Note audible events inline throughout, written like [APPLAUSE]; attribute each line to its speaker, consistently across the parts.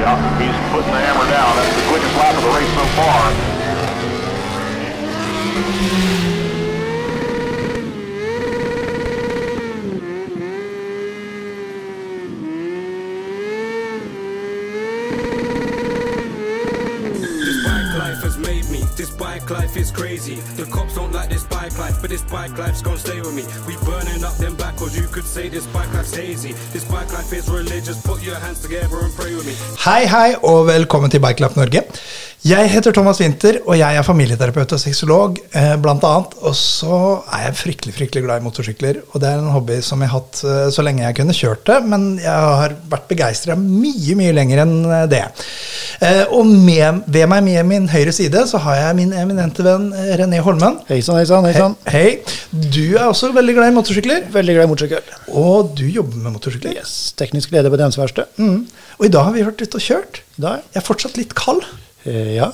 Speaker 1: out. He's putting the hammer down. That's the quickest lap of the race so far.
Speaker 2: This bike life has made me. This bike life is crazy. The cops don't like this bike life, but this bike life's gonna stay with me. We burning up them backwards. You could say this bike life's hazy. This bike life is religious. Put your hands together and pray with me.
Speaker 3: Hei, hei, og velkommen til Bikelab Norge. Jeg heter Thomas Winther, og jeg er familieterapeut og sexolog, eh, blant annet. Og så er jeg fryktelig fryktelig glad i motorsykler, og det er en hobby som jeg har hatt eh, så lenge jeg kunne kjørt det, men jeg har vært begeistra mye, mye lenger enn eh, det. Eh, Og med, ved meg med min høyre side så har jeg min eminente venn eh, René Holmen.
Speaker 4: Hei sann, hei sann. hei sann.
Speaker 3: Hei. Du er også veldig glad i motorsykler,
Speaker 4: Veldig glad i motorsykkel.
Speaker 3: og du jobber med motorsykler.
Speaker 4: Yes, Teknisk leder på DMS-verkstedet.
Speaker 3: Mm. Og i dag har vi vært ute og kjørt.
Speaker 4: I dag?
Speaker 3: Jeg er fortsatt litt kald.
Speaker 4: Eh, ja.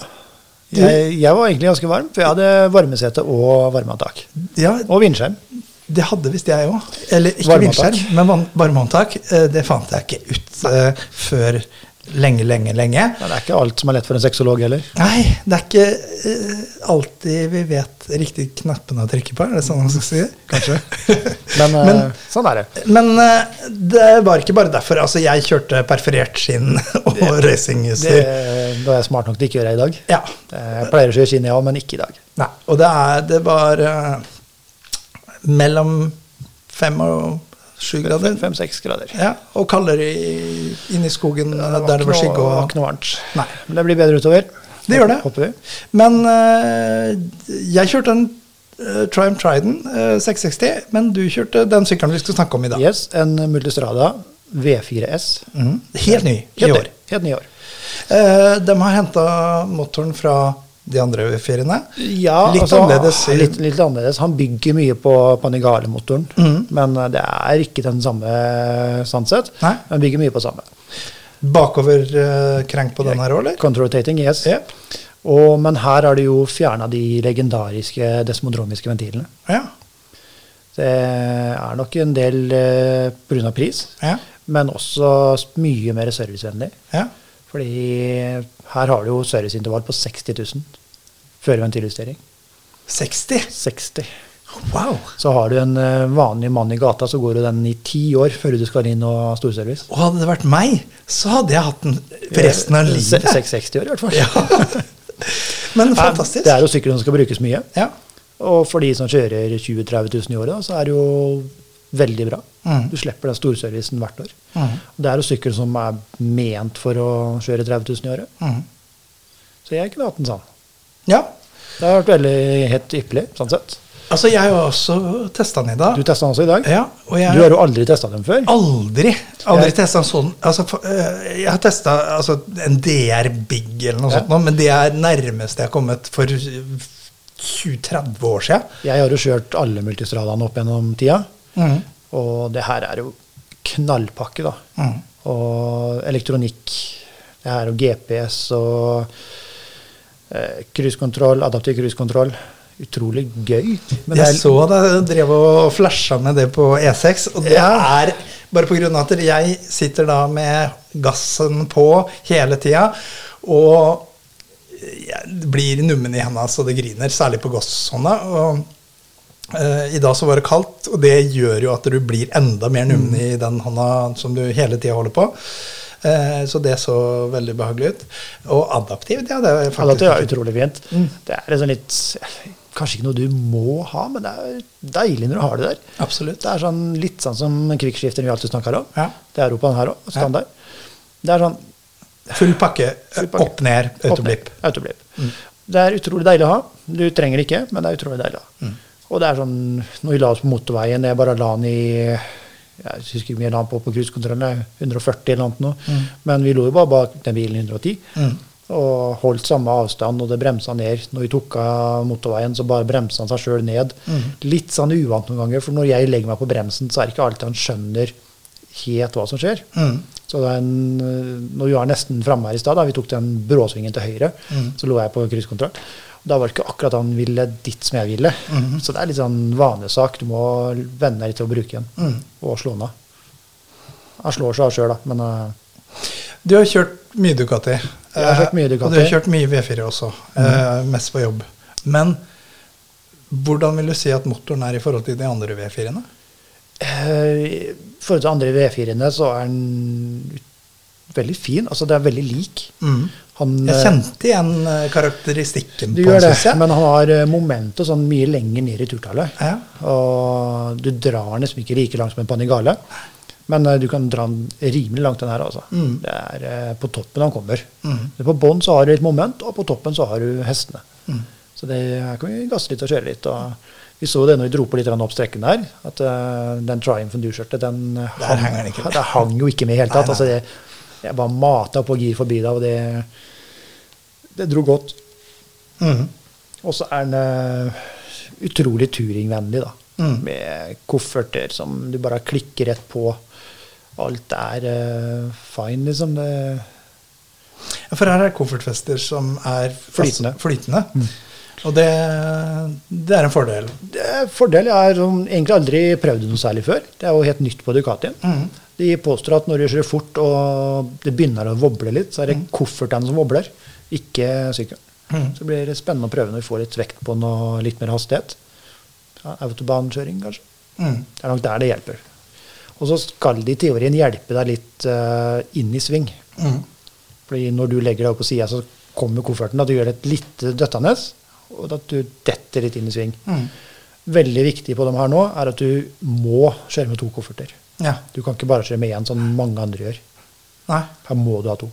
Speaker 4: Jeg, jeg var egentlig ganske varm, for jeg hadde varmesete og varmeantak.
Speaker 3: Ja,
Speaker 4: Og vindskjerm.
Speaker 3: Det hadde visst jeg òg. Eller ikke
Speaker 4: Varmeantak.
Speaker 3: vindskjerm, men van- varmehåndtak. Eh, Det fant jeg ikke ut eh, før lenge, lenge, lenge.
Speaker 4: Men det er ikke alt som er lett for en sexolog heller.
Speaker 3: Nei, det er ikke eh, alltid vi vet riktig knappene å trykke på, er det sånn man skal si? [LAUGHS] Kanskje.
Speaker 4: Men, eh,
Speaker 3: Men-
Speaker 4: sånn er det.
Speaker 3: Men eh, det var ikke bare derfor. Altså, jeg kjørte perforert skinn [LAUGHS] og
Speaker 4: det.
Speaker 3: racinghuser.
Speaker 4: Da er jeg smart nok til ikke å gjøre det i dag.
Speaker 3: Ja.
Speaker 4: Eh, Jeg pleier å kjøre skinn, jeg òg, men ikke i dag.
Speaker 3: Nei, og det, er, det var eh, mellom fem og sju grader.
Speaker 4: Fem-seks grader.
Speaker 3: Ja, og kaldere i- inne i skogen der det var
Speaker 4: ikke
Speaker 3: skygge
Speaker 4: noe-
Speaker 3: og
Speaker 4: ikke noe varmt.
Speaker 3: Nei.
Speaker 4: Men det blir bedre utover.
Speaker 3: Det gjør det.
Speaker 4: Håper vi.
Speaker 3: Men eh, jeg kjørte en eh, Triumph Trident eh, 660, men du kjørte den sykkelen vi skal snakke om i dag.
Speaker 4: Yes, en Multistrada V4S.
Speaker 3: Mhm. Helt ny i
Speaker 4: Helt
Speaker 3: år.
Speaker 4: ny. Helt ny i år.
Speaker 3: Eh, de har henta motoren fra de andre V4-ene.
Speaker 4: Ja,
Speaker 3: litt
Speaker 4: altså,
Speaker 3: annerledes.
Speaker 4: ja, Litt, litt annerledes. Han bygger mye på Panigale-motoren,
Speaker 3: Mhm.
Speaker 4: men eh, det er ikke den samme sånn sett.
Speaker 3: Nei.
Speaker 4: Men bygger mye på samme.
Speaker 3: Bakover eh, krenk på den her òg, eller?
Speaker 4: Control-rotating, yes.
Speaker 3: Jep.
Speaker 4: Og, men her har de jo fjerna de legendariske desmodromiske ventilene.
Speaker 3: Ja.
Speaker 4: Det er nok en del eh, på grunn av pris,
Speaker 3: Ja.
Speaker 4: men også s- mye mer servicevennlig.
Speaker 3: ja.
Speaker 4: Fordi her har du jo serviceintervall på 60 000 før ventiljustering.
Speaker 3: 60.
Speaker 4: 60
Speaker 3: Wow.
Speaker 4: Så har du en eh, vanlig mann i gata, så går du den i ti år før du skal inn og ha storservice.
Speaker 3: Og hadde det vært meg, så hadde jeg hatt den for resten av
Speaker 4: Eh, se-
Speaker 3: livet.
Speaker 4: 660 år, i hvert fall.
Speaker 3: Ja. Men fantastisk.
Speaker 4: Det er jo sykler som skal brukes mye.
Speaker 3: Ja.
Speaker 4: Og for de som kjører 20 000-30 000 i året, da, så er det jo veldig bra.
Speaker 3: Mm.
Speaker 4: Du slipper den storservicen hvert år.
Speaker 3: Mhm.
Speaker 4: Det er jo sykkel som er ment for å kjøre 30 000 i året.
Speaker 3: Mhm.
Speaker 4: Så jeg kunne hatt en sånn.
Speaker 3: ja.
Speaker 4: Det har vært veldig helt ypperlig, sånn sett.
Speaker 3: Altså, jeg har jo også testa den i dag.
Speaker 4: Du testa den også i dag.
Speaker 3: ja, og jeg
Speaker 4: Du har jo aldri testa den før.
Speaker 3: aldri, aldri
Speaker 4: Jeg-
Speaker 3: testa en sånn altså, for- eh, Jeg har testa altså, en DR Big eller noe
Speaker 4: Ja.
Speaker 3: sånt, nå, men det er nærmest jeg har kommet for 20-30 år siden.
Speaker 4: Jeg har jo kjørt alle multistradaene opp gjennom tida.
Speaker 3: Mhm.
Speaker 4: Mm. Og det her er jo knallpakke, da.
Speaker 3: Mhm.
Speaker 4: Og elektronikk. Det her og GPS og eh, cruisekontroll, adaptiv cruisekontroll. Utrolig gøy. Men det
Speaker 3: jeg
Speaker 4: er,
Speaker 3: så deg drev og flasha med det på E6, og det er bare på grunn av at jeg sitter da med gassen på hele tida, og jeg blir nummen i henda så det griner, særlig på gasshånda. og eh, I dag så var det kaldt, og det gjør jo at du blir enda mer nummen i den hånda som du hele tida holder på. Eh, så det så veldig behagelig ut. Og adaptivt, ja. Det er faktisk
Speaker 4: Adaptiv er
Speaker 3: ikke- Mm.
Speaker 4: utrolig fint. Det er liksom litt Kanskje ikke noe du må ha, men det er deilig når du har det der.
Speaker 3: Absolutt.
Speaker 4: Det er sånn, litt sånn som kvikkskifteren vi alltid snakker om.
Speaker 3: Ja.
Speaker 4: Det er Europaen her òg, standard. Det er sånn
Speaker 3: Full pakke.
Speaker 4: Full pakke.
Speaker 3: Opp ned, Mm. autoblipp.
Speaker 4: Opp ned, Autoblipp. Det er utrolig deilig å ha. Du trenger det ikke, men det er utrolig deilig å ha.
Speaker 3: Mm.
Speaker 4: Og det er sånn, når vi la oss på motorveien, jeg bare la den i jeg husker ikke hvor mye jeg la den på på cruisekontrollen, 140 eller noe. sånt
Speaker 3: Mm.
Speaker 4: nå. Men vi lå jo bare bak den bilen i 110 og holdt samme avstand, og det bremsa ned. Når vi tok av motorveien, så bare bremsa han seg sjøl ned.
Speaker 3: Mm.
Speaker 4: Litt sånn uvant noen ganger, for når jeg legger meg på bremsen, så er det ikke alltid han skjønner helt hva som skjer.
Speaker 3: Mm.
Speaker 4: Så det er en, eh, når vi var nesten framme her i stad, da vi tok den bråsvingen til høyre,
Speaker 3: Mm.
Speaker 4: så lå jeg på krysskontroll. Og Da var det ikke akkurat han ville dit som jeg ville.
Speaker 3: Mm.
Speaker 4: Så det er litt sånn vanesak. Du må
Speaker 3: Mm.
Speaker 4: venne deg litt til å bruke den, og slå den av. Han slår seg av sjøl, da, men eh,
Speaker 3: Du har kjørt mye Ducati.
Speaker 4: Jeg har kjørt mye
Speaker 3: eh,
Speaker 4: Ducati. Mhm.
Speaker 3: Og du har kjørt mye V4 også, eh, mest på jobb. Men hvordan vil du si at motoren er i forhold til de andre V4-ene?
Speaker 4: Eh, I forhold til andre V4-ene så er den veldig fin. Altså, det er veldig lik.
Speaker 3: Mm.
Speaker 4: Han,
Speaker 3: Jeg
Speaker 4: eh,
Speaker 3: kjente igjen eh, karakteristikken
Speaker 4: Du
Speaker 3: på
Speaker 4: gjør
Speaker 3: den,
Speaker 4: det,
Speaker 3: syns jeg.
Speaker 4: men han har eh, momentet sånn mye lenger ned i turtallet.
Speaker 3: Ja.
Speaker 4: Og du drar den liksom ikke like langt som en panigale, men eh, du kan dra den rimelig langt, den her. altså.
Speaker 3: Mm.
Speaker 4: Det er eh, på toppen han kommer. Så På bånn så har du litt moment, og på toppen så har du hestene.
Speaker 3: Mm.
Speaker 4: Så det her kan vi gasse litt og kjøre litt. og vi så det når vi dro på litt grann opp strekken der, at eh, den Triumphen du kjørte, den eh,
Speaker 3: Der henger den ikke
Speaker 4: [LAUGHS]
Speaker 3: med.
Speaker 4: der hang jo ikke med i hele tatt.
Speaker 3: Nei,
Speaker 4: Altså, det, jeg bare mata på gir forbi da, og det, det dro godt.
Speaker 3: Mm.
Speaker 4: Og så er den eh, utrolig turingvennlig, da.
Speaker 3: Mm.
Speaker 4: Med kofferter som du bare klikker rett på. Alt er eh, fine, liksom. Det,
Speaker 3: Ja, For her er det koffertfester som er fast-
Speaker 4: Flytende. Mhm.
Speaker 3: flytende. Og det, det er en fordel.
Speaker 4: det er fordel. Jeg har sånn egentlig aldri prøvd det noe særlig før. Det er jo helt nytt på Ducatien.
Speaker 3: Mm.
Speaker 4: De påstår at når du kjører fort og det begynner å voble litt, så er det kofferten som vobler, ikke sykkelen. Så det blir spennende å prøve når vi får litt vekt på den og litt mer hastighet. Ja, Autobankjøring, kanskje.
Speaker 3: Mm.
Speaker 4: Det er nok der det hjelper. Og så skal det i teorien hjelpe deg litt eh, inn i sving. Mhm. Fordi når du legger deg opp på sida, så kommer kofferten. At du gjør det litt døttende, og at du detter litt inn i sving.
Speaker 3: Mm.
Speaker 4: Veldig viktig på dem her nå er at du må kjøre med to kofferter.
Speaker 3: Ja.
Speaker 4: Du kan ikke bare kjøre med én, som mange andre gjør.
Speaker 3: Nei.
Speaker 4: Her må du ha to.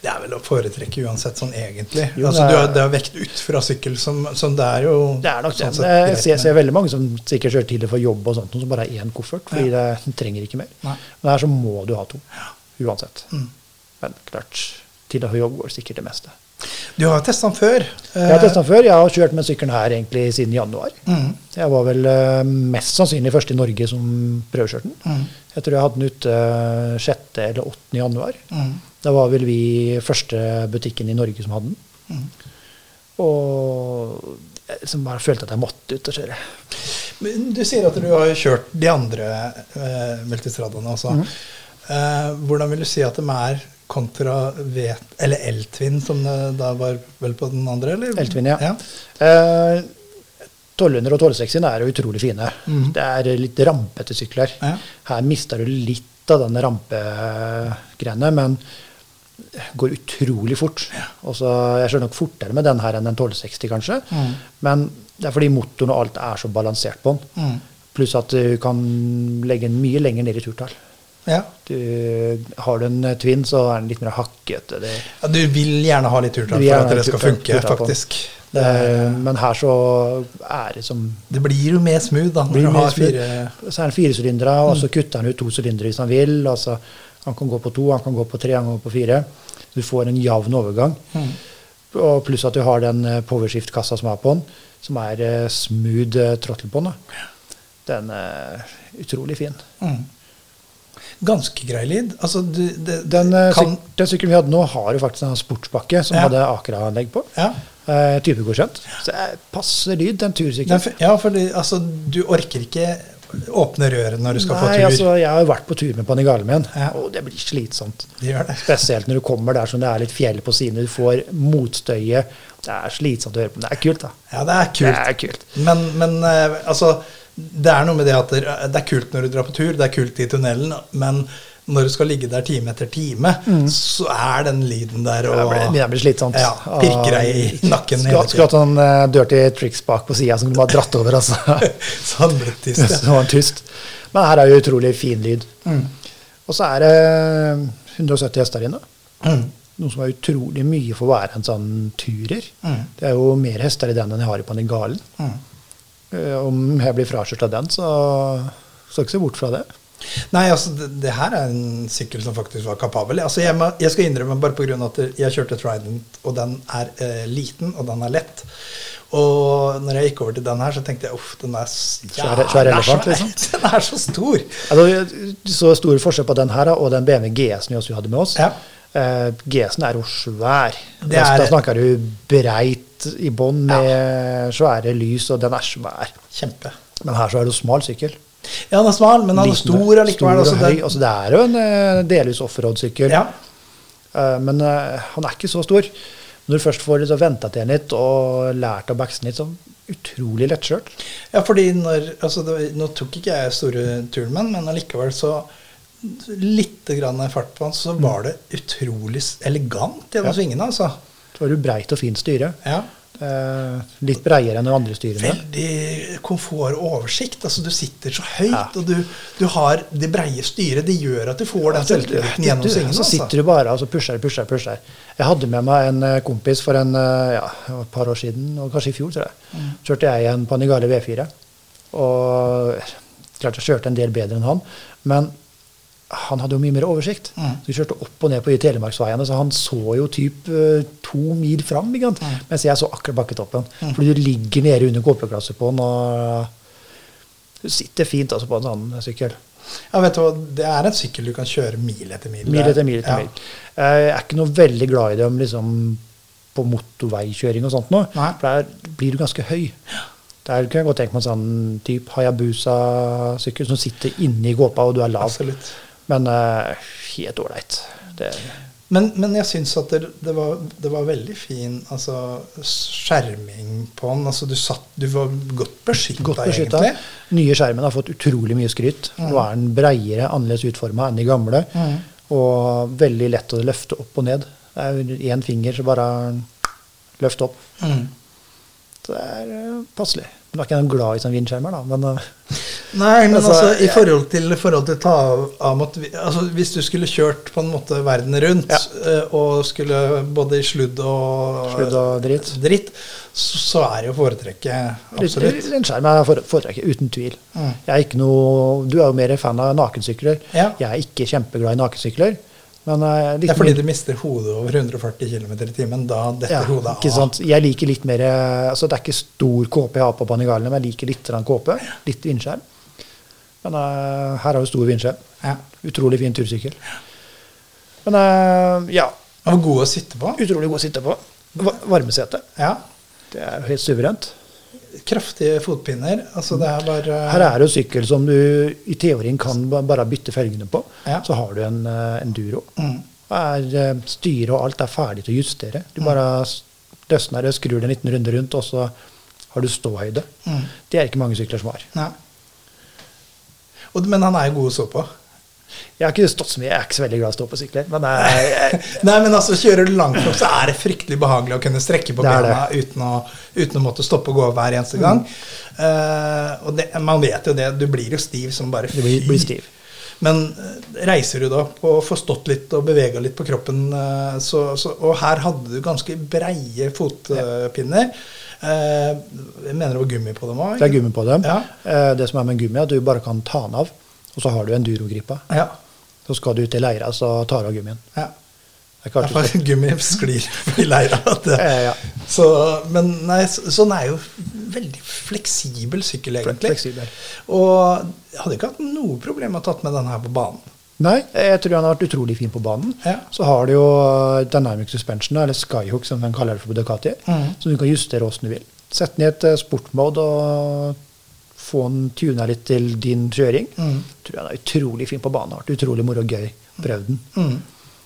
Speaker 3: Det er vel å foretrekke uansett, sånn egentlig.
Speaker 4: Jo,
Speaker 3: altså,
Speaker 4: det
Speaker 3: du
Speaker 4: er-
Speaker 3: har, det er vekt ut fra sykkel, som, som det er jo
Speaker 4: Det er nok det.
Speaker 3: sånn sett
Speaker 4: Men Jeg
Speaker 3: greit
Speaker 4: ser,
Speaker 3: med.
Speaker 4: ser veldig mange som sikkert kjører tidlig for jobb og sånt, som bare har én koffert, fordi det den trenger ikke mer.
Speaker 3: Nei. Mm.
Speaker 4: Men her så må du ha to, uansett. Men klart, tidlig for jobb går sikkert det meste.
Speaker 3: Du har jo testa den før.
Speaker 4: Jeg har testa den før. Jeg har kjørt med sykkelen her egentlig siden januar.
Speaker 3: Mm.
Speaker 4: Jeg var vel eh, mest sannsynlig først i Norge som prøvekjørte den. Jeg tror jeg hadde den ute 6. eller 8. januar.
Speaker 3: mm.
Speaker 4: Da var vel vi første butikken i Norge som hadde den. Og jeg liksom bare følte at jeg måtte ut og kjøre.
Speaker 3: Men Du sier at du har jo kjørt de andre eh, multistradene også.
Speaker 4: Mm.
Speaker 3: Eh, hvordan vil du si at de er kontra V... Eller Eltvin, som det da var vel på den andre? eller?
Speaker 4: Eltvin, ja. Eh, 1200 og 1260 er jo utrolig fine. Det er litt rampete sykler.
Speaker 3: Ja.
Speaker 4: Her mister du litt av den rampegreiene, men går utrolig fort. Og så, jeg kjører nok fortere med den her enn en 1260, kanskje. Men det er fordi motoren og alt er så balansert på den.
Speaker 3: Mhm. Mm.
Speaker 4: Pluss at du kan legge den mye lenger ned i turtall.
Speaker 3: Ja.
Speaker 4: Du, har du en twin, så er den litt mer hakkete. Det,
Speaker 3: ja. Du vil gjerne ha litt turtall
Speaker 4: Du vil
Speaker 3: for
Speaker 4: gjerne
Speaker 3: at
Speaker 4: ha
Speaker 3: det
Speaker 4: litt
Speaker 3: skal
Speaker 4: turtall-
Speaker 3: funke,
Speaker 4: turtall på.
Speaker 3: faktisk.
Speaker 4: det er, eh, men her så er det som
Speaker 3: Det blir jo mer smooth da, når
Speaker 4: Blir
Speaker 3: du
Speaker 4: mer
Speaker 3: har
Speaker 4: smooth.
Speaker 3: fire
Speaker 4: Så er han firesylindere, og så kutter han ut to sylindere hvis han vil. Altså, han kan gå på to, han kan gå på tre, han kan gå på fire. Du får en jevn overgang.
Speaker 3: Mm.
Speaker 4: Og pluss at du har den eh, powershift-kassa som er på den, som er eh, smooth eh, throttle på den. Da. Den er utrolig fin.
Speaker 3: mm. Ganske grei lyd. Altså, du det,
Speaker 4: Den, eh,
Speaker 3: kan
Speaker 4: syk den sykkelen vi hadde nå, har jo faktisk en sportspakke som
Speaker 3: Ja.
Speaker 4: hadde Akra-anlegg på.
Speaker 3: Ja.
Speaker 4: Eh, typegodkjent. Så det passer lyd, den
Speaker 3: den,
Speaker 4: tursykkelen.
Speaker 3: f- Ja, for det- altså, du orker ikke åpne røret når du skal få
Speaker 4: Nei,
Speaker 3: tur.
Speaker 4: altså, jeg har jo vært på tur med Panigale min,
Speaker 3: Ja.
Speaker 4: og det blir slitsomt.
Speaker 3: Det gjør det.
Speaker 4: Spesielt når du kommer der som det er litt fjell på siden. Du får motstøyet. Det er slitsomt å høre på, men det er kult, da.
Speaker 3: Ja, det er kult.
Speaker 4: Det er kult.
Speaker 3: Men, men eh, altså, det er noe med det at det er- det er kult når du drar på tur, det er kult i tunnelen, men når du skal ligge der time etter time,
Speaker 4: Mm.
Speaker 3: så er den lyden der
Speaker 4: Det
Speaker 3: og
Speaker 4: blir, det blir slitsomt. Ah,
Speaker 3: Ja, pirker deg i nakken hele
Speaker 4: Skulle-
Speaker 3: tiden.
Speaker 4: Skulle hatt noen eh, dirty tricks bak på sida som du bare har dratt over,
Speaker 3: [LAUGHS]
Speaker 4: altså. [LAUGHS]
Speaker 3: Samletist,
Speaker 4: Så
Speaker 3: ja.
Speaker 4: det var en tyst. Men her er jo utrolig fin lyd.
Speaker 3: Mm.
Speaker 4: Og så er det eh, 170 hester inne.
Speaker 3: Mm,
Speaker 4: Noe som er utrolig mye for å være en sånn turer.
Speaker 3: Mm.
Speaker 4: Det er jo mer hester i den enn jeg har i Panigalen. Eh, Om jeg blir frakjørt av den, så skal jeg ikke se bort fra det.
Speaker 3: Nei, altså, det, det her er en sykkel som faktisk var kapabel. Altså, jeg, må, jeg skal innrømme bare pga. at jeg kjørte Trident, og den er eh, liten, og den er lett. Og når jeg gikk over til den her, så tenkte jeg uff, den er s-
Speaker 4: Svær- svær
Speaker 3: den er [LAUGHS]
Speaker 4: elefant,
Speaker 3: svær.
Speaker 4: liksom.
Speaker 3: Den er så stor.
Speaker 4: Altså, du så stor forskjell på den her da, og den BMW GS-en vi også hadde med oss.
Speaker 3: Ja.
Speaker 4: Eh, GS-en er jo svær.
Speaker 3: Det er-
Speaker 4: Da snakker du breit i bånn med svære lys, og den er svær.
Speaker 3: Kjempe.
Speaker 4: Men her så er det jo smal sykkel.
Speaker 3: Ja, den er smal, men den er
Speaker 4: Liten,
Speaker 3: stor allikevel.
Speaker 4: stor og
Speaker 3: Altså,
Speaker 4: høy.
Speaker 3: den,
Speaker 4: Altså, det er jo en eh, delvis offroad-sykkel.
Speaker 3: Ja.
Speaker 4: Eh, Men eh, han er ikke så stor. Når du først får liksom venta til en litt og lært å backse den litt, så utrolig lettkjørt.
Speaker 3: Ja, fordi når, altså, det, var- nå tok ikke jeg store turen med den, men allikevel så litt grann fart på den, så var det utrolig s- elegant gjennom
Speaker 4: Mm. Ja.
Speaker 3: svingene. altså.
Speaker 4: Så har du breit og fint styre.
Speaker 3: Ja.
Speaker 4: Eh, Litt breiere enn de andre styrene.
Speaker 3: Veldig komfort og oversikt. altså Du sitter så høyt,
Speaker 4: Ja.
Speaker 3: og du, du har det breie styret. Det gjør at du får den selvtilliten gjennom
Speaker 4: Du-
Speaker 3: svingene.
Speaker 4: Så sitter
Speaker 3: Altså.
Speaker 4: du bare og så pusher, pusher, pusher. Jeg hadde med meg en eh, kompis for en, eh, ja, det var et par år siden, og kanskje i fjor, tror
Speaker 3: Mm.
Speaker 4: jeg. Kjørte jeg en Panigale V4. Og eh, klart jeg kjørte en del bedre enn han, men han hadde jo mye mer oversikt.
Speaker 3: Mm.
Speaker 4: Så vi kjørte opp og ned på i Telemarksveiene, så han så jo typ eh, to mil fram, ikke sant?
Speaker 3: Mm.
Speaker 4: mens jeg så akkurat bakketoppen. Fordi du ligger nede under kåpeklasset på den, og du sitter fint altså, på en sånn sykkel.
Speaker 3: Ja, vet du hva, Det er en sykkel du kan kjøre mil etter mil.
Speaker 4: Mil etter mil etter
Speaker 3: Ja.
Speaker 4: mil. Jeg er ikke noe veldig glad i dem liksom, på motorveikjøring og sånt nå.
Speaker 3: Nei.
Speaker 4: For der blir du ganske høy. Der kunne jeg godt tenke meg en sånn type Hayabusa-sykkel som sitter inni gåpa, og du er lav.
Speaker 3: Absolutt.
Speaker 4: Men eh, helt ålreit. Det-
Speaker 3: Men, men jeg syns at det, det, var, det var veldig fin altså, skjerming på den. Altså, du, satt, du var godt beskytta,
Speaker 4: Godt beskytta.
Speaker 3: egentlig. Mm.
Speaker 4: Nye skjermen har fått utrolig mye skryt. Nå er den breiere, annerledes utforma enn de gamle. Og veldig lett å løfte opp og ned. Det er én finger, så bare løft opp.
Speaker 3: Mm.
Speaker 4: Så det er eh, passelig. Nå er ikke jeg noe glad i sånne vindskjermer, da, men eh,
Speaker 3: Nei, men altså,
Speaker 4: Altså,
Speaker 3: i forhold til, forhold til å ta av mot, altså, Hvis du skulle kjørt på en måte verden rundt, eh, og skulle både i sludd og,
Speaker 4: Sludd og dritt.
Speaker 3: så, så er jo foretrekket absolutt. Mm.
Speaker 4: En skjerm er fore- foretrekket, uten tvil. Jeg er ikke noe, du er jo mer fan av nakensykler.
Speaker 3: Ja.
Speaker 4: Jeg er ikke kjempeglad i nakensykler. Men eh, litt
Speaker 3: Det er fordi
Speaker 4: mindre-
Speaker 3: du mister hodet over 140 km i timen. Da detter hodet av.
Speaker 4: ikke sant? Jeg liker litt mer eh, altså Det er ikke stor kåpe jeg har på Panigalen, men jeg liker litt grann kåpe. Litt vindskjerm. Men eh, her har du stor vindskjerm.
Speaker 3: Ja.
Speaker 4: Utrolig fin tursykkel. Men eh, ja,
Speaker 3: Den var god å sitte på.
Speaker 4: utrolig god å sitte på. Va- Varmesete.
Speaker 3: Ja.
Speaker 4: Det er jo helt suverent.
Speaker 3: Kraftige fotpinner. Altså, det er bare
Speaker 4: Her er det jo sykkel som du i teorien kan ba- bare bytte felgene på.
Speaker 3: Ja. Mm.
Speaker 4: Så har du en eh, enduro. Er, eh, styret og alt er ferdig til å justere. Du
Speaker 3: Mm.
Speaker 4: bare s- løsner det, skrur det en liten runde rundt, og så har du ståhøyde.
Speaker 3: Mm.
Speaker 4: Det er ikke mange sykler som har.
Speaker 3: Nei. Og, men han er jo god å stå på.
Speaker 4: Jeg har ikke stått så mye, jeg er ikke så veldig glad i å stå på sykler, men jeg, jeg,
Speaker 3: [LAUGHS] Nei, men altså, Kjører du langflokk, så er det fryktelig behagelig å kunne strekke på
Speaker 4: Det er det.
Speaker 3: bena uten å, uten å måtte stoppe og gå hver eneste gang.
Speaker 4: Mm.
Speaker 3: Eh, og det, Man vet jo det, du blir jo stiv som bare fy.
Speaker 4: Du blir- blir stiv.
Speaker 3: Men eh, reiser du deg opp og får stått litt og bevega litt på kroppen eh, så, så, Og her hadde du ganske breie fotpinner. Eh, jeg mener det var gummi på dem òg.
Speaker 4: det er gummi på dem.
Speaker 3: Ja.
Speaker 4: Eh, Det som er med gummi, er at du bare kan ta den av, og så har du endurogrippa.
Speaker 3: Ja.
Speaker 4: Så skal du ut i leira, så tar du av gummien.
Speaker 3: ja.
Speaker 4: Det er klart du
Speaker 3: Ja, for gummi sklir i leira. at det-
Speaker 4: Ja, ja.
Speaker 3: Så, men nei, så- sånn er jo veldig fleksibel sykkel, egentlig.
Speaker 4: Fleksibel.
Speaker 3: Og jeg hadde ikke hatt noe problem med å tatt med den her på banen.
Speaker 4: Nei, jeg tror han har vært utrolig fin på banen.
Speaker 3: Ja.
Speaker 4: Så har du jo eh, dynamic suspension, eller skyhook som de kaller det for på Ducati, som du kan justere åssen du vil. Sette den i et eh, sportmode og få den tuna litt til din kjøring. Tror han er utrolig fin på banen. Har vært utrolig moro og gøy. Prøvd den.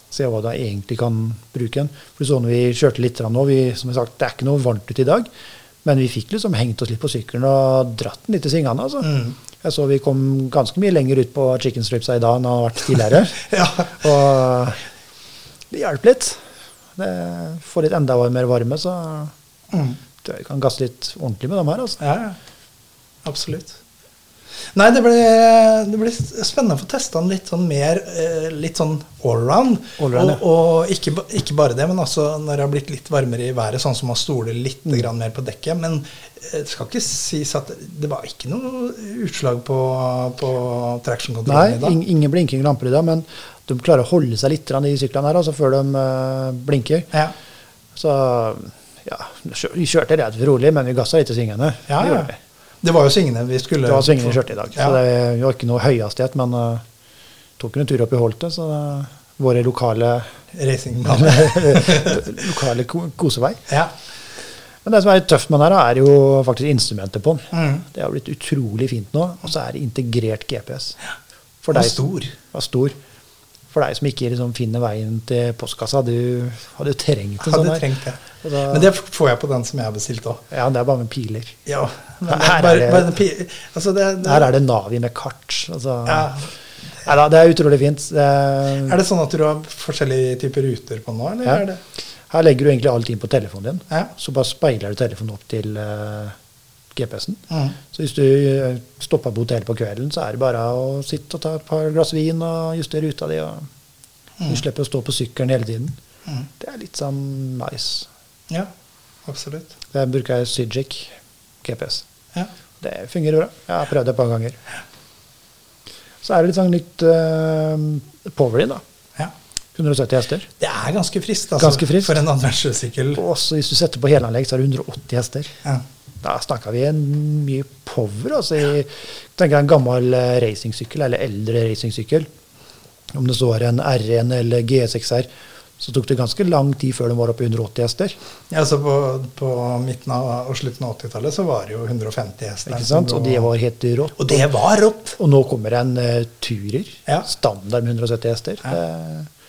Speaker 4: Se hva du egentlig kan bruke den. For sånn vi kjørte litt grann nå, vi, som jeg sagt, det er ikke noe varmt ute i dag. Men vi fikk liksom hengt oss litt på sykkelen og dratt den litt i svingene. Altså. Jeg så vi kom ganske mye lenger ut på chicken stripsa i dag enn det har vært tidligere.
Speaker 3: Ja. [LAUGHS]
Speaker 4: Og det hjalp litt. Det, få litt enda mer varme, så
Speaker 3: Mm.
Speaker 4: du kan gasse litt ordentlig med dem her. Altså.
Speaker 3: Ja, ja. Absolutt. Nei, det ble, det ble spennende å få testa den litt sånn mer eh, litt sånn allround.
Speaker 4: Allround,
Speaker 3: og og ikke, ba- ikke bare det, men altså når det har blitt litt varmere i været, sånn som man stoler litt
Speaker 4: Mm.
Speaker 3: grann mer på dekket. Men eh, det skal ikke sies at det var ikke noe utslag på, på
Speaker 4: Nei,
Speaker 3: traction-kontrollen i dag.
Speaker 4: ing- ingen blinking lamper i dag, men de klarer å holde seg litt grann i syklene her altså, før de eh, blinker.
Speaker 3: Ja.
Speaker 4: Så ja, kjør- vi kjørte rett rolig, men vi gassa litt i svingene.
Speaker 3: Ja, ja.
Speaker 4: Det gjorde vi.
Speaker 3: Det var jo svingene vi skulle
Speaker 4: Det var svingene vi kjørte i dag.
Speaker 3: Ja.
Speaker 4: Så det var ikke noe høyhastighet, men eh, tok en tur opp i Holte, så eh, våre lokale,
Speaker 3: Racingbane.
Speaker 4: [LAUGHS] lokale ko- kosevei.
Speaker 3: ja.
Speaker 4: Men det som er litt tøft med den her, da, er jo faktisk instrumentet på den.
Speaker 3: Mm.
Speaker 4: Det har blitt utrolig fint nå, og så er det integrert GPS. For
Speaker 3: Og
Speaker 4: deg-
Speaker 3: stor.
Speaker 4: Og stor. For For deg som ikke liksom finner veien til postkassa, hadde du, hadde du trengt en
Speaker 3: Hadde
Speaker 4: sånn her.
Speaker 3: trengt det.
Speaker 4: Og da-
Speaker 3: Men det f- får jeg på den som jeg har bestilt òg.
Speaker 4: Ja, det er bare med piler.
Speaker 3: Ja. men
Speaker 4: Her
Speaker 3: det er
Speaker 4: er
Speaker 3: Bare,
Speaker 4: det-
Speaker 3: bare pi- altså det, det,
Speaker 4: Her er det Navi med kart. Altså.
Speaker 3: Ja.
Speaker 4: Nei da, det er utrolig fint. Det er,
Speaker 3: er det sånn at du har forskjellige typer ruter på nå, eller?
Speaker 4: Ja.
Speaker 3: Er det?
Speaker 4: Her legger du egentlig alt inn på telefonen din.
Speaker 3: Ja.
Speaker 4: Så bare speiler du telefonen opp til eh, GPS-en.
Speaker 3: Mm.
Speaker 4: Så hvis du eh, stopper på hotellet på kvelden, så er det bare å sitte og ta et par glass vin og justere ruta di. Og
Speaker 3: Mm.
Speaker 4: Du slipper å stå på sykkelen hele tiden. Det er litt sånn nice.
Speaker 3: Ja, absolutt.
Speaker 4: Der bruker jeg Sygic GPS.
Speaker 3: Ja.
Speaker 4: Det fungerer bra. Jeg har prøvd det et par ganger. Så er det litt sånn nytt uh, power-in, da.
Speaker 3: ja.
Speaker 4: 170 hester.
Speaker 3: Det er ganske friskt, altså.
Speaker 4: Ganske friskt.
Speaker 3: For en adventuresykkel.
Speaker 4: Og også hvis du setter på helanlegg, så er det 180 hester.
Speaker 3: Ja.
Speaker 4: Da snakka vi en mye power. altså Jeg tenker En gammel eh, racingsykkel, eller eldre racingsykkel, om det så var en R1 eller G6R, så tok det ganske lang tid før den var oppe i 180 hester.
Speaker 3: Ja, så på, på midten av og slutten av 80-tallet så var det jo 150 hester.
Speaker 4: ikke sant? Og det var helt rått.
Speaker 3: Og det var rått!
Speaker 4: Og nå kommer det en eh, Turer,
Speaker 3: Ja.
Speaker 4: standard med 170 hester.
Speaker 3: Ja.
Speaker 4: Det,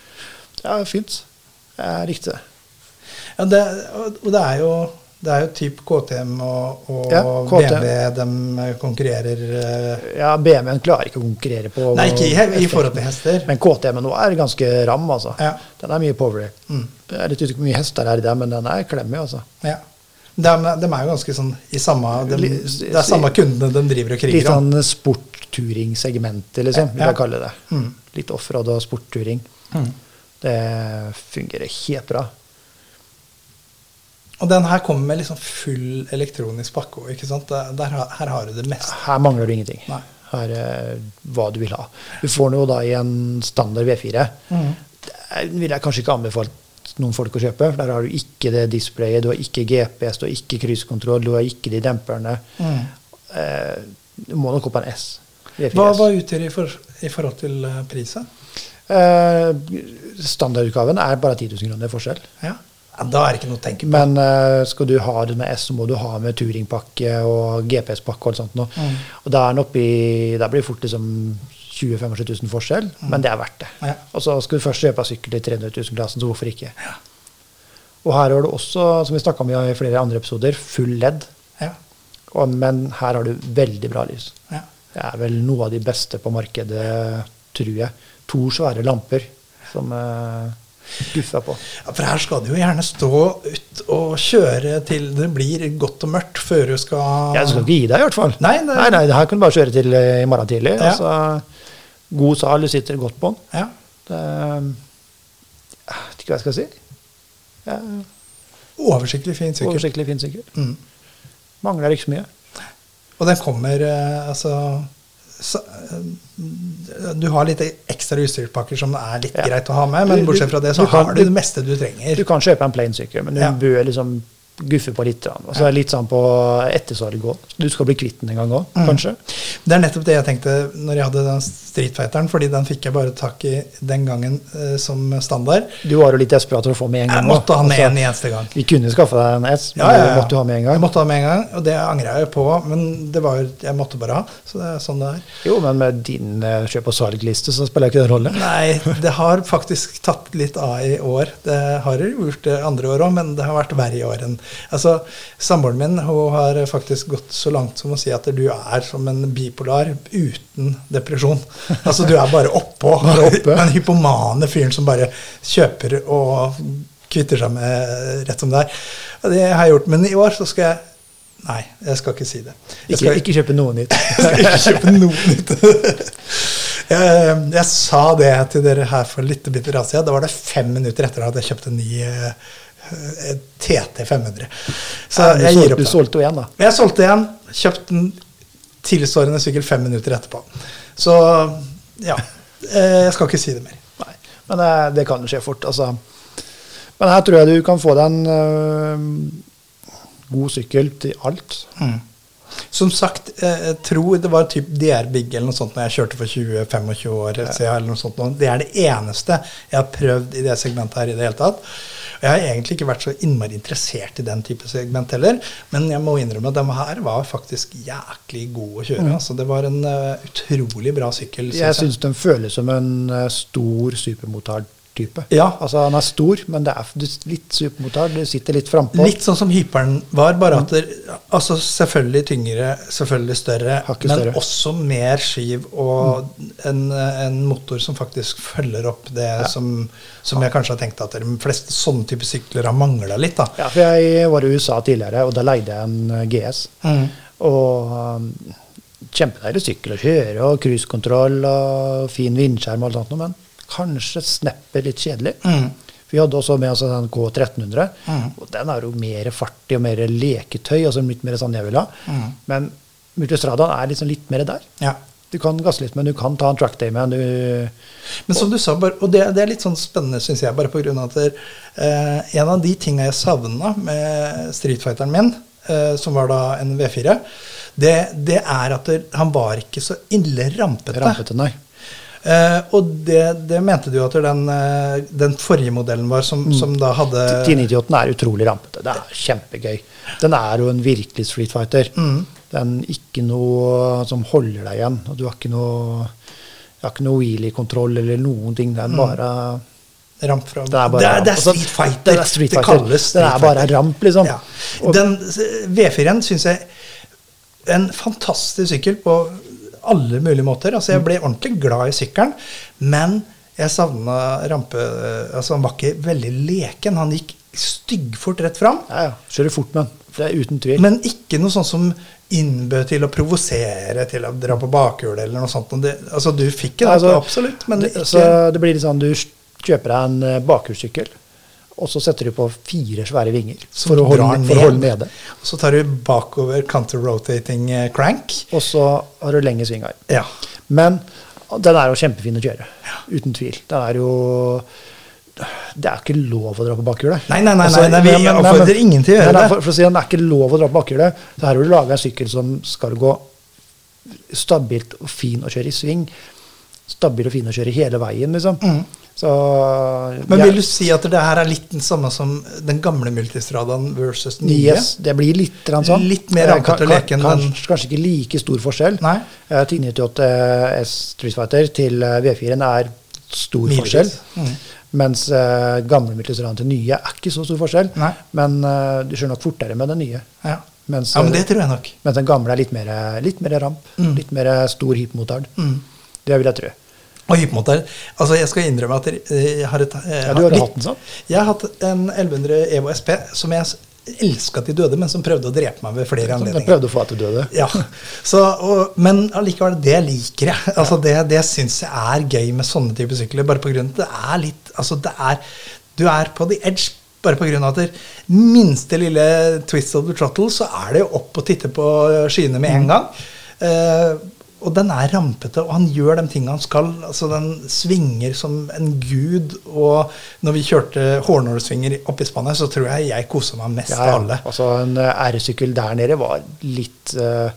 Speaker 4: det er fint. Jeg likte det.
Speaker 3: Ja, det, og og det er jo det er jo typ KTM og, og
Speaker 4: Ja, KTM.
Speaker 3: BMW de konkurrerer eh,
Speaker 4: Ja, BMW-en klarer ikke å konkurrere på
Speaker 3: Nei, ikke i, i forhold til hester.
Speaker 4: Men KTM-en nå er ganske ram, altså.
Speaker 3: Ja.
Speaker 4: Den er mye power.
Speaker 3: Mm.
Speaker 4: Det er litt usikkert hvor mye hester er i den, men den er klemmig, altså.
Speaker 3: Ja. De, de er jo ganske sånn i samme de,
Speaker 4: Li-
Speaker 3: Det er samme kundene de driver og
Speaker 4: Litt
Speaker 3: kriger om.
Speaker 4: sånn sportturing-segmentet, liksom, vil
Speaker 3: Ja.
Speaker 4: jeg kalle det.
Speaker 3: Mm.
Speaker 4: Litt offroad og sportturing. Det fungerer helt bra.
Speaker 3: Og den her kommer med liksom full elektronisk pakke òg, ikke sant. Der, der, har- her har du det meste.
Speaker 4: Her mangler du ingenting.
Speaker 3: Nei.
Speaker 4: Her er hva du vil ha. Du får den jo da i en standard V4.
Speaker 3: Mhm.
Speaker 4: Den vil jeg kanskje ikke anbefalt noen folk å kjøpe. for Der har du ikke det displayet, du har ikke GPS, du har ikke krysskontroll, du har ikke de demperne.
Speaker 3: Mhm.
Speaker 4: Eh, du må nok opp på en S. V4S.
Speaker 3: Hva, hva utgjør det i, for, i forhold til eh, priset?
Speaker 4: Eh, standardutgaven er bare 10 000 kroner forskjell.
Speaker 3: Ja. Ja, Da er det ikke noe å tenke på.
Speaker 4: Men eh, skal du ha det med S, så må du ha med turingpakke og GPS-pakke og alt sånt noe.
Speaker 3: Mm.
Speaker 4: Og da er den oppi Da blir det fort liksom 20 000-25 000 forskjell, men det er verdt det.
Speaker 3: Mm. Ja.
Speaker 4: Og så skal du først kjøpe en sykkel i 300 000-klassen, så hvorfor ikke? Og her har du også, som vi snakka om i flere andre episoder, full ledd.
Speaker 3: Ja.
Speaker 4: Og, men her har du veldig bra lys.
Speaker 3: Ja.
Speaker 4: Det er vel noe av de beste på markedet, tror jeg. To svære lamper som eh, duffer på.
Speaker 3: Ja, for her skal du jo gjerne stå ut og kjøre til det blir godt og mørkt før du skal
Speaker 4: Jeg skal ikke gi deg, sånn i hvert fall.
Speaker 3: Nei, det-
Speaker 4: nei, nei det her kan du bare kjøre til eh, i morgen tidlig.
Speaker 3: Ja.
Speaker 4: Altså, god sal, du sitter godt på den.
Speaker 3: Ja.
Speaker 4: Det, jeg vet ikke hva jeg skal si. Ja,
Speaker 3: Oversiktlig fin sykkel.
Speaker 4: oversiktlig fin sykkel.
Speaker 3: Mm.
Speaker 4: Mangler ikke så mye.
Speaker 3: Og den kommer eh, altså så, eh, du har litt ekstra utstyrspakker som er litt
Speaker 4: Ja.
Speaker 3: greit å ha med, men
Speaker 4: Du- du-
Speaker 3: bortsett fra det så
Speaker 4: du kan-
Speaker 3: har du
Speaker 4: du-
Speaker 3: det meste du trenger.
Speaker 4: Du kan kjøpe en plain sykkel, men du
Speaker 3: Ja.
Speaker 4: bør liksom guffe på litt. grann. Og så er det litt sånn på ettersalg òg. Du skal bli kvitt den en gang
Speaker 3: Mm.
Speaker 4: òg, kanskje.
Speaker 3: Det er nettopp det jeg tenkte når jeg hadde den Street Fighteren, fordi den fikk jeg bare tak i den gangen eh, som standard.
Speaker 4: Du var jo litt desperat for å få med en gang.
Speaker 3: Jeg måtte ha med
Speaker 4: også.
Speaker 3: en eneste gang.
Speaker 4: Vi kunne skaffe deg en S, men
Speaker 3: Ja, ja, ja.
Speaker 4: det måtte altså, du ha med en
Speaker 3: Jeg
Speaker 4: gang.
Speaker 3: måtte ha med en gang, og det angra jeg på, men det var, jo- jeg måtte bare ha. Så det er sånn det er.
Speaker 4: Jo, men med din eh, kjøp- og salgliste så spiller ikke det
Speaker 3: [LAUGHS]
Speaker 4: rolle.
Speaker 3: Nei, det har faktisk tatt litt av i år. Det har det gjort det andre år òg, men det har vært verre i år enn Altså, samboeren min hun har faktisk gått så langt som å si at du er som en bipolar uten depresjon. Altså, du er bare oppå.
Speaker 4: [LAUGHS] Bare oppe.
Speaker 3: Den hypomane fyren som bare kjøper og kvitter seg med rett som det er. Og Det har jeg gjort, men i år så skal jeg Nei, jeg skal ikke si det. Jeg
Speaker 4: Ikke,
Speaker 3: skal,
Speaker 4: ikke kjøpe
Speaker 3: [LAUGHS]
Speaker 4: noe nytt.
Speaker 3: jeg skal ikke kjøpe noe nytt. [LAUGHS] Jeg, jeg sa det til dere her for litt bitte rad siden. Da var det fem minutter etter at jeg kjøpte en ny eh, eh, TT 500. Så
Speaker 4: du,
Speaker 3: jeg
Speaker 4: sol-
Speaker 3: gir opp.
Speaker 4: du
Speaker 3: det.
Speaker 4: solgte jo en, da.
Speaker 3: Jeg solgte en, kjøpte en tilsvarende sykkel fem minutter etterpå. Så ja. eh, Jeg skal ikke si det mer.
Speaker 4: Nei. Men det, det kan jo skje fort. Altså. Men her tror jeg du kan få deg en eh, god sykkel til alt.
Speaker 3: Mm. Som sagt, eh, jeg tror det var typ DR Big eller noe sånt når jeg kjørte for 20-25 år siden. eller noe sånt. nå. Det er det eneste jeg har prøvd i det segmentet her i det hele tatt. Og jeg har egentlig ikke vært så innmari interessert i den type segment heller, men jeg må innrømme at den her var faktisk jæklig god å kjøre. Altså, det var en eh, utrolig bra sykkel.
Speaker 4: Jeg
Speaker 3: synes jeg.
Speaker 4: syns den føles som en eh, stor supermotard-type.
Speaker 3: Ja.
Speaker 4: Altså, han er stor, men det er du- litt supermotard. Du sitter litt frampå.
Speaker 3: Litt sånn som hyperen var,
Speaker 4: Mm.
Speaker 3: bare at det, altså selvfølgelig tyngre, selvfølgelig større,
Speaker 4: Hakket
Speaker 3: men
Speaker 4: større. Mm.
Speaker 3: også mer skiv og en, en motor som faktisk følger opp det som, som jeg kanskje har tenkt at de fleste sånne type sykler har mangla litt. da.
Speaker 4: Ja, for jeg var i USA tidligere, og da leide jeg en eh, GS.
Speaker 3: Mm.
Speaker 4: Og um, kjempedeilig sykkel å kjøre, og cruisekontroll og fin vindskjerm og alt sånt, noe, men kanskje sneppet litt kjedelig.
Speaker 3: Mm.
Speaker 4: Vi hadde også med oss en sånn K1300,
Speaker 3: Mm.
Speaker 4: og den er jo mer fart i og mer leketøy, altså litt mer sånn jeg vil ha.
Speaker 3: Mm.
Speaker 4: Men Multistradaen er liksom litt mer der.
Speaker 3: Ja.
Speaker 4: Du kan gasse litt, men du kan ta en trackday med en. Du
Speaker 3: Men som du sa, bare, og det, det er litt sånn spennende, syns jeg, bare på grunn av at det, eh, en av de tinga jeg savna med Street Fighteren min, eh, som var da en V4, det, det er at det, han var ikke så ille rampete.
Speaker 4: rampet den der.
Speaker 3: Eh, og det, det mente du at den, eh, den forrige modellen var,
Speaker 4: Mm.
Speaker 3: som, som da hadde
Speaker 4: 1098 er utrolig rampete. Det er kjempegøy. Den er jo en virkelig street fighter.
Speaker 3: Mm.
Speaker 4: Den ikke noe som holder deg igjen. og Du har ikke noe, du har ikke noe wheelie-kontroll eller noen ting.
Speaker 3: Mm.
Speaker 4: Den bare
Speaker 3: ramp fra
Speaker 4: den er bare
Speaker 3: det, er, det er
Speaker 4: ramp. Altså,
Speaker 3: Street Fighter.
Speaker 4: den er Street
Speaker 3: det
Speaker 4: Fighter.
Speaker 3: kalles
Speaker 4: Den
Speaker 3: Street
Speaker 4: er bare
Speaker 3: Fighter.
Speaker 4: ramp, liksom.
Speaker 3: Ja.
Speaker 4: Og-
Speaker 3: Den eh, V4-en syns jeg en fantastisk sykkel på alle mulige måter. Altså,
Speaker 4: Mm.
Speaker 3: jeg ble ordentlig glad i sykkelen, men jeg savna rampe... Altså, han var ikke veldig leken. Han gikk styggfort rett fram.
Speaker 4: Ja, ja. Kjører fort med den. Det er uten tvil.
Speaker 3: Men ikke noe sånt som innbød til å provosere, til å dra på bakhjulet eller noe sånt. Og Det, altså, du fikk det,
Speaker 4: Altså,
Speaker 3: absolutt, men
Speaker 4: det,
Speaker 3: ikke
Speaker 4: så det blir litt sånn du kjøper deg en eh, bakhjulssykkel, og så setter du på fire svære vinger
Speaker 3: som
Speaker 4: for å holde,
Speaker 3: drar
Speaker 4: for å holde nede.
Speaker 3: Og Så tar du bakover counter-rotating eh, crank.
Speaker 4: Og så har du lengre svingarm.
Speaker 3: Ja.
Speaker 4: Men den er jo kjempefin å kjøre. Uten tvil. Den er jo Det er ikke lov å dra på bakhjulet. Altså,
Speaker 3: Nei, nei, nei, nei, vi oppfordrer ingen til å gjøre
Speaker 4: nei, nei,
Speaker 3: det.
Speaker 4: For, for å si det, det er ikke lov å dra på bakhjulet. Så her har du laga en sykkel som skal gå stabilt og fin å kjøre i sving. Stabil og fin å kjøre hele veien, liksom. Så
Speaker 3: Mm. Men
Speaker 4: jeg-
Speaker 3: vil du si at det her er litt den samme som den gamle multistradaen versus den nye?
Speaker 4: Yes, det blir litt grann sånn.
Speaker 3: Litt mer
Speaker 4: Eh,
Speaker 3: rampete
Speaker 4: kan-
Speaker 3: og leken,
Speaker 4: kan-
Speaker 3: men-
Speaker 4: Kanskje, kanskje ikke like stor forskjell.
Speaker 3: Nei.
Speaker 4: Eh, 1098 S Street Fighter til eh, V4-en er stor
Speaker 3: Milevis.
Speaker 4: forskjell.
Speaker 3: Mm.
Speaker 4: Mens eh, gamle Mytlestrand til nye er ikke så stor forskjell.
Speaker 3: Nei.
Speaker 4: Men eh, du kjører nok fortere med den nye.
Speaker 3: Ja.
Speaker 4: Mens, eh,
Speaker 3: ja, men det tror jeg Mm. nok.
Speaker 4: mens den gamle er litt mer, litt mer ramp. Litt mer eh, stor hypmotard.
Speaker 3: Mm.
Speaker 4: Det vil jeg tro.
Speaker 3: Og hypmotor. Altså, jeg skal innrømme at jeg har et eh,
Speaker 4: Ja, du har
Speaker 3: litt-
Speaker 4: hatt den sånn.
Speaker 3: Jeg har hatt en E 1100 EVO SP som jeg elska til døde, men som prøvde å drepe meg ved flere
Speaker 4: Jeg
Speaker 3: anledninger.
Speaker 4: prøvde å få deg til å dø, du.
Speaker 3: Ja, så, og, Men allikevel, det liker jeg. Altså Det, det syns jeg er gøy med sånne typer sykler. Bare på grunn av at det er litt altså det er, Du er på the edge bare på grunn av at det minste lille twist of the trottle, så er det jo opp og titte på skyene med en
Speaker 4: Mm.
Speaker 3: gang. Eh, og den er rampete, og han gjør de tingene han skal. altså Den svinger som en gud. Og når vi kjørte hårnålsvinger opp i Spania, så tror jeg jeg kosa meg mest
Speaker 4: Ja, ja.
Speaker 3: av alle.
Speaker 4: Altså, en eh, R-sykkel der nede var litt eh,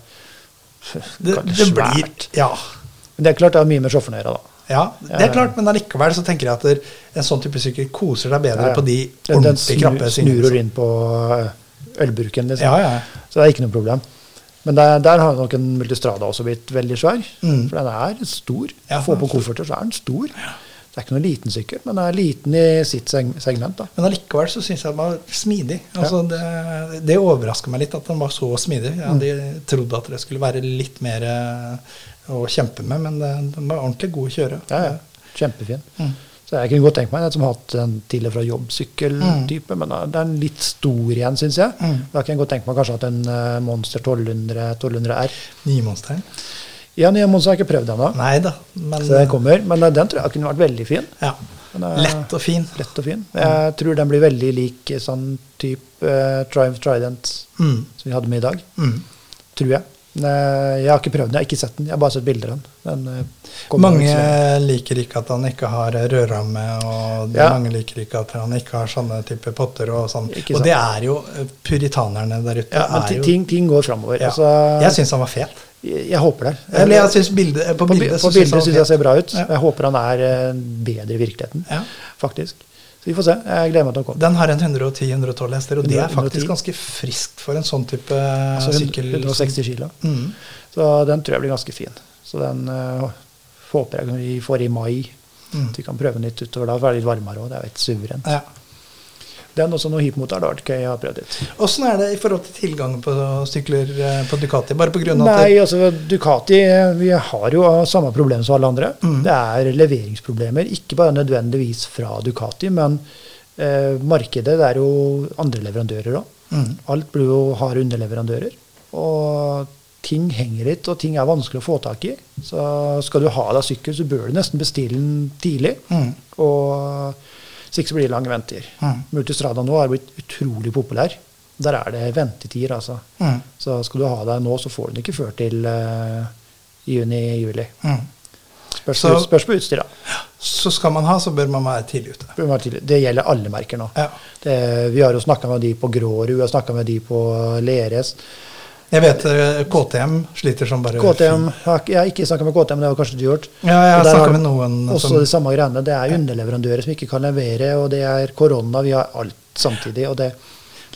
Speaker 3: Det, det
Speaker 4: svært.
Speaker 3: blir, ja,
Speaker 4: Men det er klart det er mye med sjåføren å gjøre, da.
Speaker 3: Ja, det er klart, men allikevel så tenker jeg at der, en sånn type sykkel koser deg bedre
Speaker 4: Ja, ja.
Speaker 3: på de
Speaker 4: Den- den
Speaker 3: ordentlig krappe
Speaker 4: snu- snurrer
Speaker 3: svingene.
Speaker 4: inn på eh, ølburken, liksom.
Speaker 3: Ja, ja.
Speaker 4: Så det er ikke noe problem. Men der, der har nok en Multistrada også blitt veldig svær.
Speaker 3: Mm.
Speaker 4: For den er stor.
Speaker 3: Ja,
Speaker 4: Få
Speaker 3: den er
Speaker 4: på kofferter, så er den stor. Det er ikke noen liten sykkel, men den er liten i sitt seg- segment. da.
Speaker 3: Men allikevel så syns jeg den var smidig. Altså, det, det overrasker meg litt at den var så smidig. Jeg hadde
Speaker 4: Mm.
Speaker 3: trodd at det skulle være litt mer eh, å kjempe med, men det, den var ordentlig god å kjøre.
Speaker 4: Ja, ja. Kjempefin.
Speaker 3: Mm.
Speaker 4: Så jeg kunne godt tenkt meg en som har hatt en til og fra
Speaker 3: Mm.
Speaker 4: jobb-sykkel-type, men da- det er en litt stor igjen, syns jeg. Da kan jeg godt tenke meg kanskje at en eh, Monster 1200, 1200 R.
Speaker 3: Nymonsteren.
Speaker 4: Ja, nye Monster har jeg ikke prøvd ennå.
Speaker 3: Nei da, men
Speaker 4: Så den kommer. Men eh, den tror jeg kunne vært veldig fin.
Speaker 3: ja.
Speaker 4: Den er-
Speaker 3: Lett og fin.
Speaker 4: Lett og fin.
Speaker 3: Mm.
Speaker 4: Jeg tror den blir veldig lik sånn type eh, Triumph Trident
Speaker 3: Mm.
Speaker 4: som vi hadde med i dag.
Speaker 3: Mm.
Speaker 4: Tror jeg. Men, eh, jeg har ikke prøvd den, jeg har ikke sett den. Jeg har bare sett bilder av den. den eh, kommer nok
Speaker 3: Mange
Speaker 4: snart.
Speaker 3: liker ikke at han ikke har rødramme, og
Speaker 4: Ja.
Speaker 3: mange liker ikke at han ikke har sånne type potter og sånn.
Speaker 4: Ikke
Speaker 3: Og
Speaker 4: sant.
Speaker 3: det er jo eh, puritanerne der ute.
Speaker 4: ja, men
Speaker 3: er
Speaker 4: ti-
Speaker 3: jo,
Speaker 4: ting, ting går framover.
Speaker 3: ja.
Speaker 4: Altså,
Speaker 3: jeg syns han var fet.
Speaker 4: jeg, jeg håper det.
Speaker 3: Eller jeg synes bildet, eh, på,
Speaker 4: på, bi-
Speaker 3: bildet
Speaker 4: på
Speaker 3: så
Speaker 4: bildet
Speaker 3: synes
Speaker 4: syns
Speaker 3: han var
Speaker 4: jeg
Speaker 3: fet.
Speaker 4: ser bra ut.
Speaker 3: Ja.
Speaker 4: Jeg håper han er eh, bedre i virkeligheten,
Speaker 3: Ja.
Speaker 4: faktisk. Så vi får se. Jeg gleder meg til å komme.
Speaker 3: Den har en 110-112 hester, og det er
Speaker 4: 110.
Speaker 3: faktisk ganske friskt for en sånn type
Speaker 4: Altså hund-
Speaker 3: sykkel.
Speaker 4: 160 kilo.
Speaker 3: Mm.
Speaker 4: Så den tror jeg blir ganske fin. Så den eh, håper jeg vi får i mai.
Speaker 3: Mm.
Speaker 4: Så vi kan prøve den litt utover da, for det er litt varmere òg. Det er jo helt suverent.
Speaker 3: Ja.
Speaker 4: Den også noe hypmotor, det har vært gøy å prøve litt.
Speaker 3: Åssen er det i forhold til tilgangen på sykler eh, på Ducati? Bare på grunn av at
Speaker 4: Nei, altså Ducati eh, vi har jo samme problem som alle andre.
Speaker 3: Mm.
Speaker 4: Det er leveringsproblemer. Ikke bare nødvendigvis fra Ducati, men eh, markedet det er jo andre leverandører òg.
Speaker 3: Mm.
Speaker 4: Alt blir jo har underleverandører. Og ting henger litt, og ting er vanskelig å få tak i. Så skal du ha deg sykkel, så bør du nesten bestille den tidlig.
Speaker 3: Mm.
Speaker 4: Og hvis ikke så blir det lange venter.
Speaker 3: Mm.
Speaker 4: Multistrada nå er blitt utrolig populær. Der er det ventetider, altså.
Speaker 3: Mm.
Speaker 4: Så skal du ha deg nå, så får du den ikke før til eh, juni-juli.
Speaker 3: mm.
Speaker 4: Spørs,
Speaker 3: Så-
Speaker 4: spørs på utstyr, da.
Speaker 3: Så skal man ha, så bør man være tidlig ute.
Speaker 4: Bør være tydelig. Det gjelder alle merker nå.
Speaker 3: Ja.
Speaker 4: Det, vi har jo snakka med de på Grårud, vi har snakka med de på Leres.
Speaker 3: Jeg vet eh, KTM sliter som bare
Speaker 4: KTM, jeg har ikke- jeg har ikke snakka med KTM, det har kanskje du gjort.
Speaker 3: Ja, jeg har
Speaker 4: Og der
Speaker 3: snakket
Speaker 4: har-
Speaker 3: med noen
Speaker 4: Også
Speaker 3: som-
Speaker 4: de samme greiene. Det er underleverandører som ikke kan levere, og det er korona, vi har alt samtidig. Og det,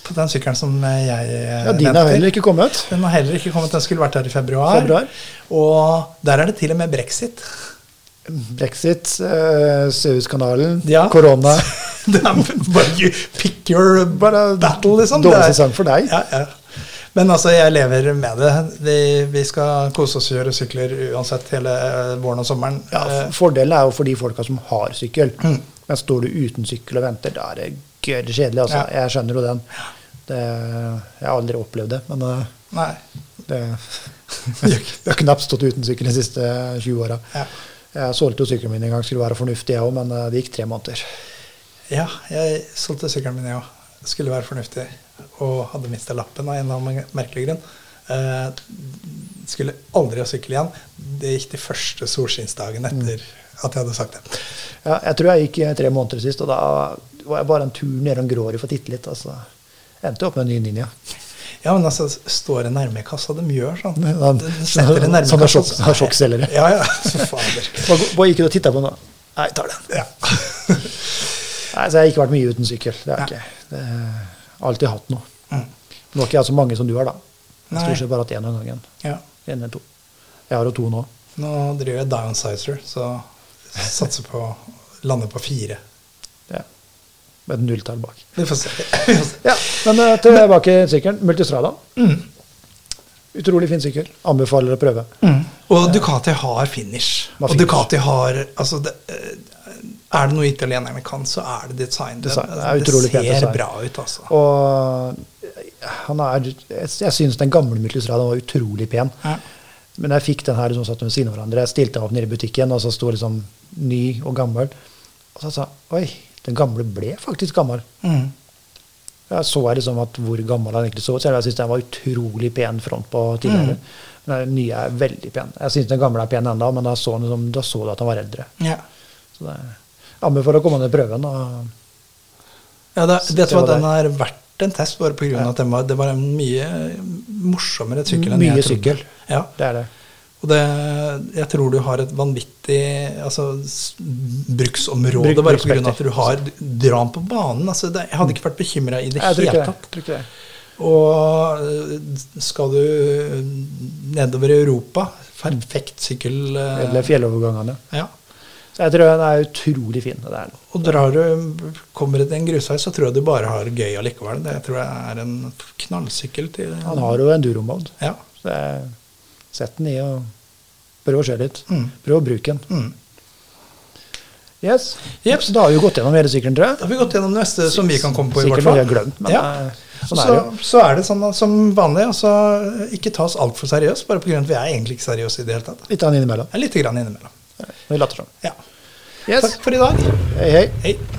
Speaker 3: På den sykkelen som eh, jeg eh,
Speaker 4: ja, din har heller ikke kommet.
Speaker 3: Den har heller ikke kommet, den skulle vært her i februar.
Speaker 4: Februar.
Speaker 3: Og der er det til og med brexit. [LAUGHS]
Speaker 4: Brexit, eh, Suezkanalen,
Speaker 3: Ja.
Speaker 4: korona.
Speaker 3: det er bare you pick your battle, liksom.
Speaker 4: dårlig
Speaker 3: Det er-
Speaker 4: sesong for deg.
Speaker 3: Ja, ja. Men altså, jeg lever med det. Vi, vi skal kose oss og gjøre sykler uansett hele eh, våren og sommeren.
Speaker 4: Ja,
Speaker 3: Eh,
Speaker 4: f- fordelen er jo for de folka som har sykkel.
Speaker 3: Mm.
Speaker 4: Men står du uten sykkel og venter, da er det gørr kjedelig. Altså.
Speaker 3: Ja.
Speaker 4: Jeg skjønner jo den. Det, jeg har aldri opplevd det, men eh,
Speaker 3: Nei.
Speaker 4: det, [LAUGHS] jeg har knapt stått uten sykkel de siste 20 åra.
Speaker 3: Ja.
Speaker 4: Jeg solgte jo sykkelen min en gang, skulle være fornuftig jeg òg, men eh, det gikk tre måneder.
Speaker 3: Ja, jeg solgte sykkelen min, jeg òg. Skulle være fornuftig. Og hadde mista lappen av en eller annen merkelig grunn. Eh, skulle aldri ha sykkel igjen. Det gikk de første solskinnsdagen
Speaker 4: Mm.
Speaker 3: etter at jeg hadde sagt det.
Speaker 4: Ja, jeg tror jeg gikk eh, tre måneder sist, og da var jeg bare en tur nedom Grårud for å titte litt. Altså. Endte opp med en ny ninja.
Speaker 3: Ja, men altså, står en nærmekassa, de gjør sånn.
Speaker 4: Nei, da-
Speaker 3: De setter en
Speaker 4: sånn-
Speaker 3: nærmekassa.
Speaker 4: sånn er sjokk- sånn er sjokkselgere.
Speaker 3: Ja, ja, så fader.
Speaker 4: Hva hva gikk du og titta på nå? Nei, jeg tar den.
Speaker 3: Ja.
Speaker 4: Nei, så jeg har ikke vært mye uten sykkel. Det har jeg
Speaker 3: Nei.
Speaker 4: ikke. Det jeg har alltid hatt noe.
Speaker 3: Mm.
Speaker 4: Nå har ikke jeg så mange som du har, da. Jeg
Speaker 3: Nei.
Speaker 4: har Stort sett bare hatt én om gangen.
Speaker 3: ja.
Speaker 4: En eller to. Jeg har jo to nå.
Speaker 3: Nå driver jeg downsizer, så satser på å lande på fire.
Speaker 4: Ja. Med et nulltall bak.
Speaker 3: Vi får se. Vi får se.
Speaker 4: Ja, Men eh, tilbake til sykkelen. Multistrada. Utrolig fin sykkel. Anbefaler å prøve.
Speaker 3: Og Ducati har finish.
Speaker 4: Hva
Speaker 3: Og
Speaker 4: finish?
Speaker 3: Ducati har altså det, eh, Er det noe italienerne kan, så er det design. Det,
Speaker 4: Design. Det er utrolig
Speaker 3: ser
Speaker 4: pent design.
Speaker 3: bra ut, altså.
Speaker 4: Og han er Jeg, jeg syns den gamle Multistradaen var utrolig pen.
Speaker 3: Ja.
Speaker 4: Men jeg fikk den her liksom satt ved siden av hverandre. Jeg stilte den opp nede i butikken, og så sto liksom ny og gammel. Og så sa jeg, oi, den gamle ble faktisk gammel.
Speaker 3: Mm.
Speaker 4: Jeg så jeg liksom at hvor gammel han egentlig så ut. så Jeg syns den var utrolig pen front på tidligere.
Speaker 3: Mm.
Speaker 4: Men den nye er veldig pen. Jeg syns den gamle er pen ennå, men da så, han liksom, da så du at han var eldre.
Speaker 3: Ja.
Speaker 4: Så det anbefaler å komme ned i prøven. Og
Speaker 3: Ja, det, vet du hva,
Speaker 4: det var
Speaker 3: den er verdt en test, bare pga.
Speaker 4: Ja.
Speaker 3: at den var, det var en mye morsommere sykkel enn
Speaker 4: mye
Speaker 3: jeg trodde.
Speaker 4: sykkel.
Speaker 3: Ja.
Speaker 4: Det er det.
Speaker 3: Og det, jeg tror du har et vanvittig altså, s- bruksområde
Speaker 4: Bruk-
Speaker 3: bare pga. at
Speaker 4: bruksspekter.
Speaker 3: du har du drar den på banen. Altså, det, jeg hadde ikke vært bekymra i det
Speaker 4: Jeg tror
Speaker 3: hele
Speaker 4: ikke det.
Speaker 3: tatt.
Speaker 4: Jeg tror ikke det.
Speaker 3: Og øh, skal du øh, nedover i Europa, perfekt sykkel. øh,
Speaker 4: Eller fjellovergangene.
Speaker 3: Ja.
Speaker 4: Så jeg tror den er utrolig fin. og Det er den.
Speaker 3: Og drar du, kommer du til en grusvei, så tror jeg du bare har gøy allikevel. Det tror jeg er en knallsykkel til
Speaker 4: Han har jo enduro-mode.
Speaker 3: Ja.
Speaker 4: Så jeg setter den i og prøver å se litt.
Speaker 3: Mm.
Speaker 4: Prøv å bruke den.
Speaker 3: Mm.
Speaker 4: Yes.
Speaker 3: Jep.
Speaker 4: Så da har vi gått gjennom hele sykkelen, tror
Speaker 3: Da
Speaker 4: jeg.
Speaker 3: har vi gått gjennom neste som vi kan komme på, i hvert
Speaker 4: Sikkert
Speaker 3: fall.
Speaker 4: noe vi har glemt, men eh, sånn er det jo.
Speaker 3: så, så er det sånn at som vanlig, altså ikke ta oss altfor seriøst, bare pga. at vi er egentlig ikke seriøse i det hele tatt.
Speaker 4: Litt av den innimellom.
Speaker 3: Ja, Litt grann innimellom.
Speaker 4: Vi later som.
Speaker 3: Ja.
Speaker 4: Yes.
Speaker 3: Takk for i dag.
Speaker 4: Hei, hei.
Speaker 3: Hei.